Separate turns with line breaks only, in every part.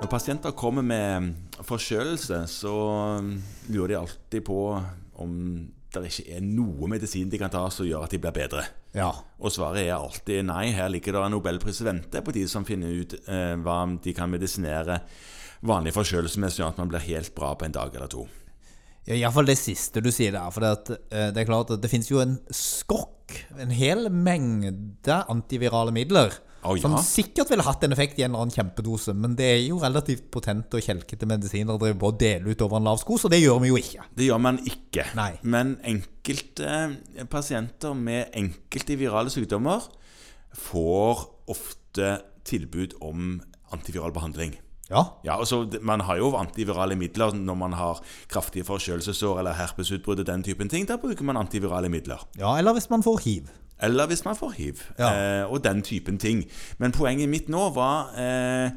Når pasienter kommer med forkjølelse, så um, lurer de alltid på om det ikke er noe medisin de kan ta som gjør at de blir bedre.
Ja.
Og svaret er alltid nei. Her ligger det en nobelpris i vente på de som finner ut eh, hva de kan medisinere vanlig forkjølelse med, sånn at man blir helt bra på en dag eller to.
Iallfall det siste du sier der. For det, at, eh, det er klart at det finnes jo en skokk, en hel mengde antivirale midler.
Å, ja.
Som sikkert ville hatt en effekt i en eller annen kjempedose, men det er jo relativt potente og kjelkete medisiner å drive på og dele ut over en lav sko, så det gjør vi jo ikke.
Det gjør man ikke.
Nei.
Men enkelte eh, pasienter med enkelte virale sykdommer får ofte tilbud om antiviral behandling.
Ja.
Ja, altså, det- Man har jo antivirale midler når man har kraftige forkjølelsesår eller herpesutbrudd. og den typen ting, Da bruker man antivirale midler.
ja, eller hvis man får hiv.
Eller hvis man får hiv.
Ja.
Eh, og den typen ting. Men poenget mitt nå var eh,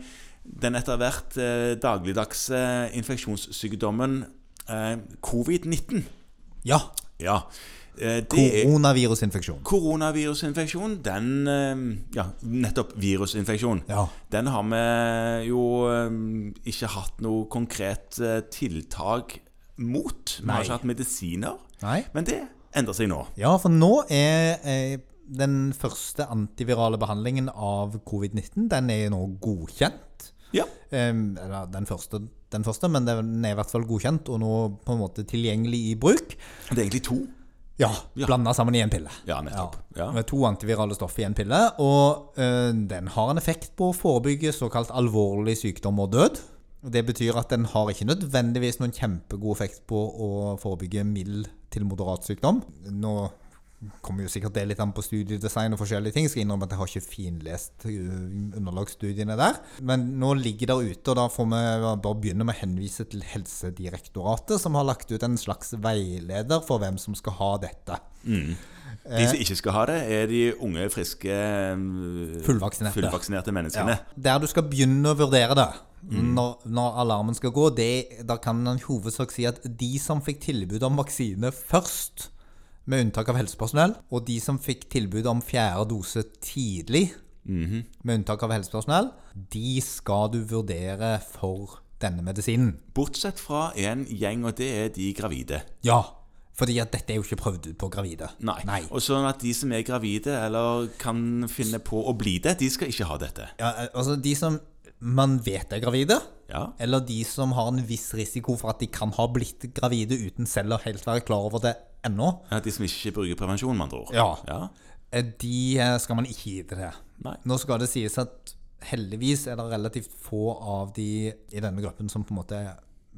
den etter hvert eh, dagligdagse infeksjonssykdommen eh, covid-19.
Ja.
Ja. Eh, det er
Koronavirusinfeksjon.
koronavirusinfeksjon. Den eh, Ja, nettopp virusinfeksjon.
Ja.
Den har vi jo eh, ikke hatt noe konkret eh, tiltak mot. Vi
Nei.
har ikke hatt medisiner.
Nei.
Men det endrer seg nå.
Ja, for nå er eh, den første antivirale behandlingen av covid-19 Den er nå godkjent.
Ja.
Eh, eller den første, den første, men den er i hvert fall godkjent og nå på en måte tilgjengelig i bruk.
Det er egentlig to.
Ja, Blanda sammen i en pille.
Ja, nettopp. Ja.
Med to antivirale stoff i en pille. Og eh, den har en effekt på å forebygge såkalt alvorlig sykdom og død. Det betyr at den har ikke nødvendigvis noen kjempegod effekt på å forebygge mild til moderat sykdom. Nå kommer jo sikkert det litt an på studiedesign og forskjellige ting. Jeg skal innrømme at jeg har ikke finlest eh, underlagsstudiene der. Men nå ligger der ute, og da får vi bare begynne med å henvise til Helsedirektoratet, som har lagt ut en slags veileder for hvem som skal ha dette.
De som ikke skal ha det, er de unge, friske, eh,
Fullvaksinerte.
fullvaksinerte menneskene.
Der du skal begynne å vurdere det,
Mm.
når, når alarmen skal gå, det, da kan en hovedsak si at de som fikk tilbud om vaksine først, med unntak av helsepersonell, og de som fikk tilbud om fjerde dose tidlig,
Mhm.
med unntak av helsepersonell, de skal du vurdere for denne medisinen.
Bortsett fra en gjeng, og det er de gravide.
Ja, fordi at dette er jo ikke prøvd ut på gravide.
Nei. Og sånn at de som er gravide, eller kan finne på å bli det, de skal ikke ha dette.
Ja, altså de som man vet er gravide,
Ja.
eller de som har en viss risiko for at de kan ha blitt gravide uten selv å helt være klar over det ennå,
Ja, De som ikke bruker prevensjon, med andre ord.
Ja.
ja.
eh, de eh, skal man ikke gi til det.
Nei.
Nå skal det sies at heldigvis er det relativt få av de i denne gruppen som på en måte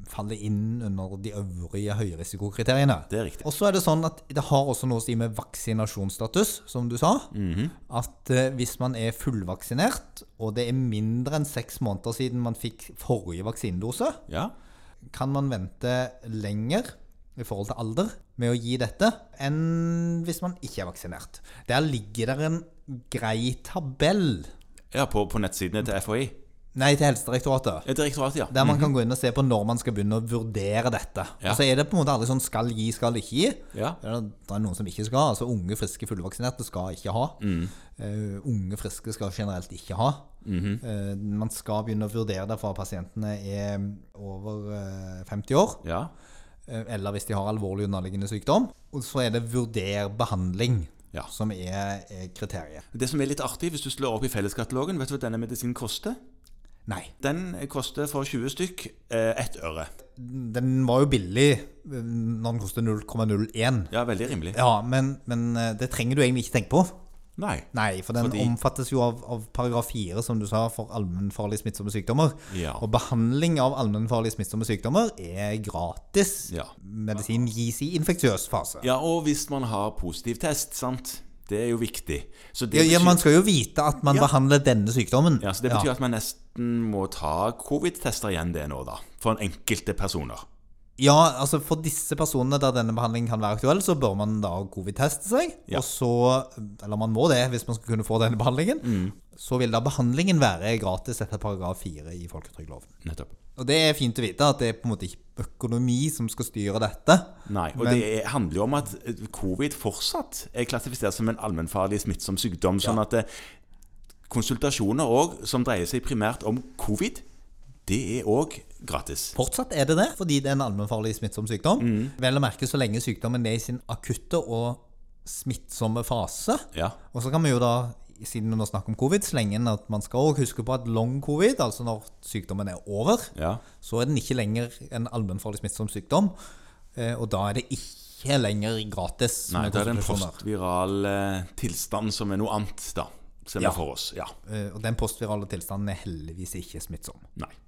faller inn under de øvrige høyrisikokriteriene.
Det er riktig.
Og så er det sånn at det har også noe å si med vaksinasjonsstatus, som du sa.
Mhm.
At eh, hvis man er fullvaksinert, og det er mindre enn seks måneder siden man fikk forrige vaksinedose,
Ja.
kan man vente lenger i forhold til alder med å gi dette enn hvis man ikke er vaksinert. Der ligger det en grei tabell
ja på, på nettsidene til FHI.
Nei, til Helsedirektoratet.
Eh, Direktoratet, ja.
Der man kan gå inn og se på når man skal begynne å vurdere dette.
Ja.
Og så er det på en måte aldri sånn skal gi, skal ikke gi.
Ja.
Det er det er noen som ikke skal. Altså unge, friske, fullvaksinerte skal ikke ha.
Mm.
Eh, unge, friske skal generelt ikke ha.
Mhm.
Eh, man skal begynne å vurdere det fra pasientene er over eh, 50 år,
ja.
eh, eller hvis de har alvorlig underliggende sykdom. Og så er det vurder behandling
Ja.
som er, er kriteriet.
Det som er litt artig, hvis du slår opp i felleskatalogen, vet du hva denne medisinen koster?
Nei.
Den koster for 20 stykk eh, ett øre.
Den var jo billig eh, når den kostet 0,01.
Ja, veldig rimelig.
Ja, men, men eh, det trenger du egentlig ikke tenke på.
Nei.
Nei, for den
Fordi-
omfattes jo av, av paragraf 4, som du sa, for allmennfarlige smittsomme sykdommer.
Ja.
Og behandling av allmennfarlige smittsomme sykdommer er gratis.
Ja.
Medisin gis i infeksiøs fase.
Ja, og hvis man har positiv test, sant? Det er jo viktig. Så det
Ja, ja,
betyr,
man skal jo vite at man behandler denne sykdommen.
ja, så det betyr at man nesten må ta covid-tester igjen det nå, da. For enkelte personer.
Ja, altså For disse personene der denne behandlingen kan være aktuell, så bør man da covid-teste seg.
Ja.
Og så, Eller man må det hvis man skal kunne få denne behandlingen. Så vil da behandlingen være gratis etter paragraf 4 i folketrygdloven.
Nettopp.
Og det er fint å vite at det er på en måte ikke økonomi som skal styre dette.
Nei, og det er, handler jo om at eh, covid fortsatt er klassifisert som en allmennfarlig smittsom sykdom. Sånn at det, konsultasjoner også, som dreier seg primært om covid, det er òg gratis.
Fortsatt er det det, fordi det er en allmennfarlig smittsom sykdom. Vel å merke så lenge sykdommen er i sin akutte og smittsomme fase.
Ja.
Og så kan vi jo da, siden vi nå snakker om covid, slenge inn at man skal også huske på at long covid, altså når sykdommen er over,
ja.
så er den ikke lenger en allmennfarlig smittsom sykdom. Eh, Og da er det ikke lenger gratis
Nei,
med
det er en
konsultasjoner.
postviral eh, tilstand som er noe annet, da. Ser vi
Ja.
for oss. Ja.
Eh, Og den postvirale tilstanden er heldigvis ikke smittsom.
Nei.